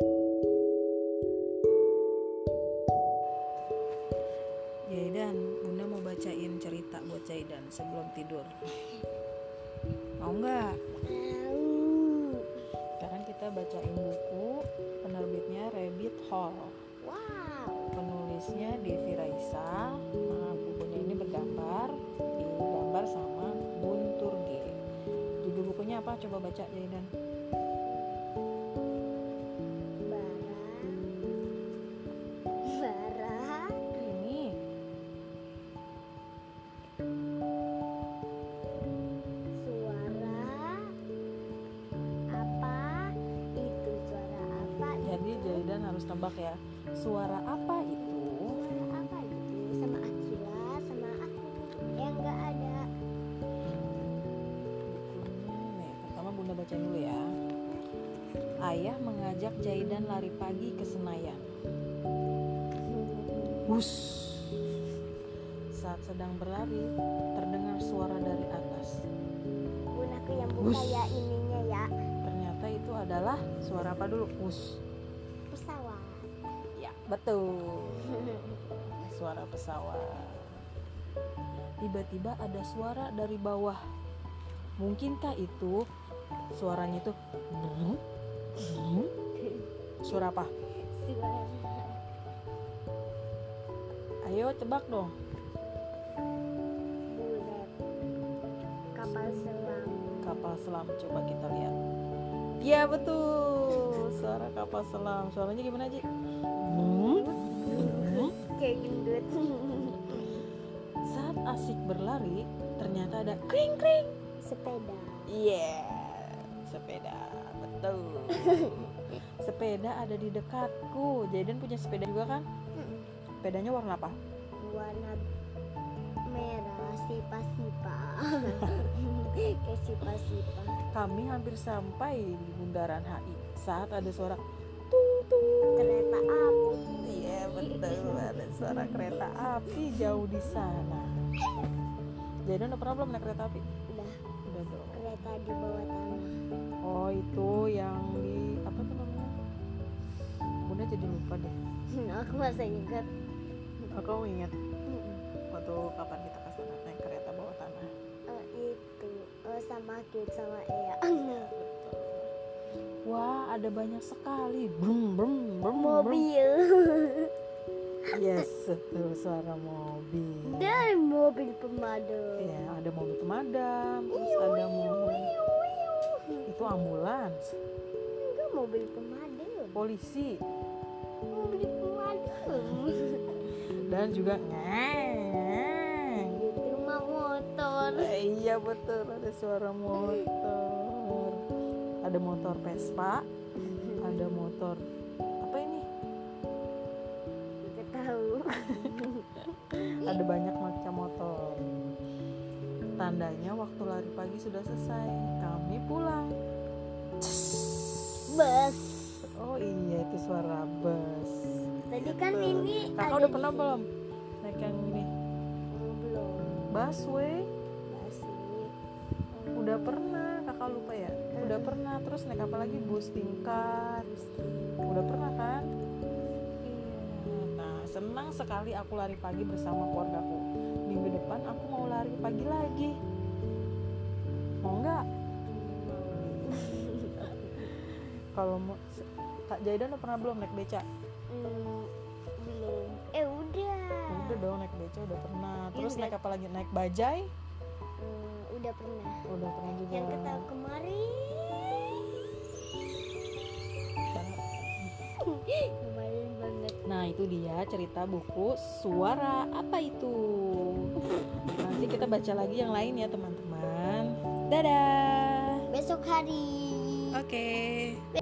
Ya, bacain buku penerbitnya Rabbit Hole Wow. penulisnya Devi Raisa nah, bukunya ini bergambar digambar sama Guntur G judul bukunya apa coba baca Jaidan Bara. Bara. ini Suara apa? Itu suara apa? jadi Jaidan harus tebak ya suara apa itu Suara apa itu? Sama Akila, sama aku yang nggak ada. Bukunya, Hmm, nih, pertama bunda baca dulu ya ayah mengajak Jaidan lari pagi ke Senayan Bus. Saat sedang berlari, terdengar suara dari atas. Gunaku yang buka Wush. ya ininya ya. Ternyata itu adalah suara apa dulu? Bus. Pesawat. Ya, betul. Suara pesawat. Tiba-tiba ada suara dari bawah. Mungkinkah itu suaranya itu "Brrrr, brrrr"? suara apa? suara Ayo tebak dong. bulat. Kapal selam. kapal selam coba kita lihat ya betul suara kapal selam suaranya gimana Ji? Kayak gendut. saat asik berlari ternyata ada kring kring Sepeda. iya sepeda betul sepeda ada di dekatku Jaden punya sepeda juga kan sepedanya warna apa warna merah sipa-sipa kayak sipa-sipa kami hampir sampai di bundaran HI saat ada suara kereta api Iya betul ada suara kereta api jauh di sana. Jadi udah pernah belum naik kereta api? udah Udah belum. kereta di bawah tanah Oh itu yang di apa tuh namanya? Bunda jadi lupa deh. aku masih ingat Aku ingat Mm-mm. waktu kapan kita ke sana naik kereta bawah tanah. Eh, itu eh, sama Kit sama Ea Iya, Betul. Wah ada banyak sekali. Brum brum brum brum. mobil Yes betul suara mobil. dan mobil pemadam Ya ada mobil pemadam. Terus ada mobil Wiu, wiu. itu ambulans, enggak mobil pemadam polisi, mobil pemadam dan juga ngeng. itu mah motor Eh, iya betul ada suara motor ada motor Vespa ada motor apa ini nggak tahu ada banyak macam motor tandanya waktu lari pagi sudah selesai kami pulang bus oh iya itu suara bus Tadi kan Gitu. ini kakak ada udah di pernah sini. belum naik yang ini Oh, belum busway masih udah pernah kakak lupa ya udah pernah terus naik apa lagi bus tingkat udah pernah kan iya nah senang sekali aku lari pagi bersama keluargaku minggu depan aku mau lari pagi lagi mau nggak kalau mau se- kak Jaidan udah pernah belum naik beca Hmm, belum eh udah udah dong naik beca udah pernah terus Iya, naik apa lagi naik bajai Hmm, udah pernah udah pernah juga yang kita kemarin kemarin banget Nah itu dia cerita buku suara apa itu Nanti kita baca lagi yang lain ya teman-teman Dadah besok hari Oke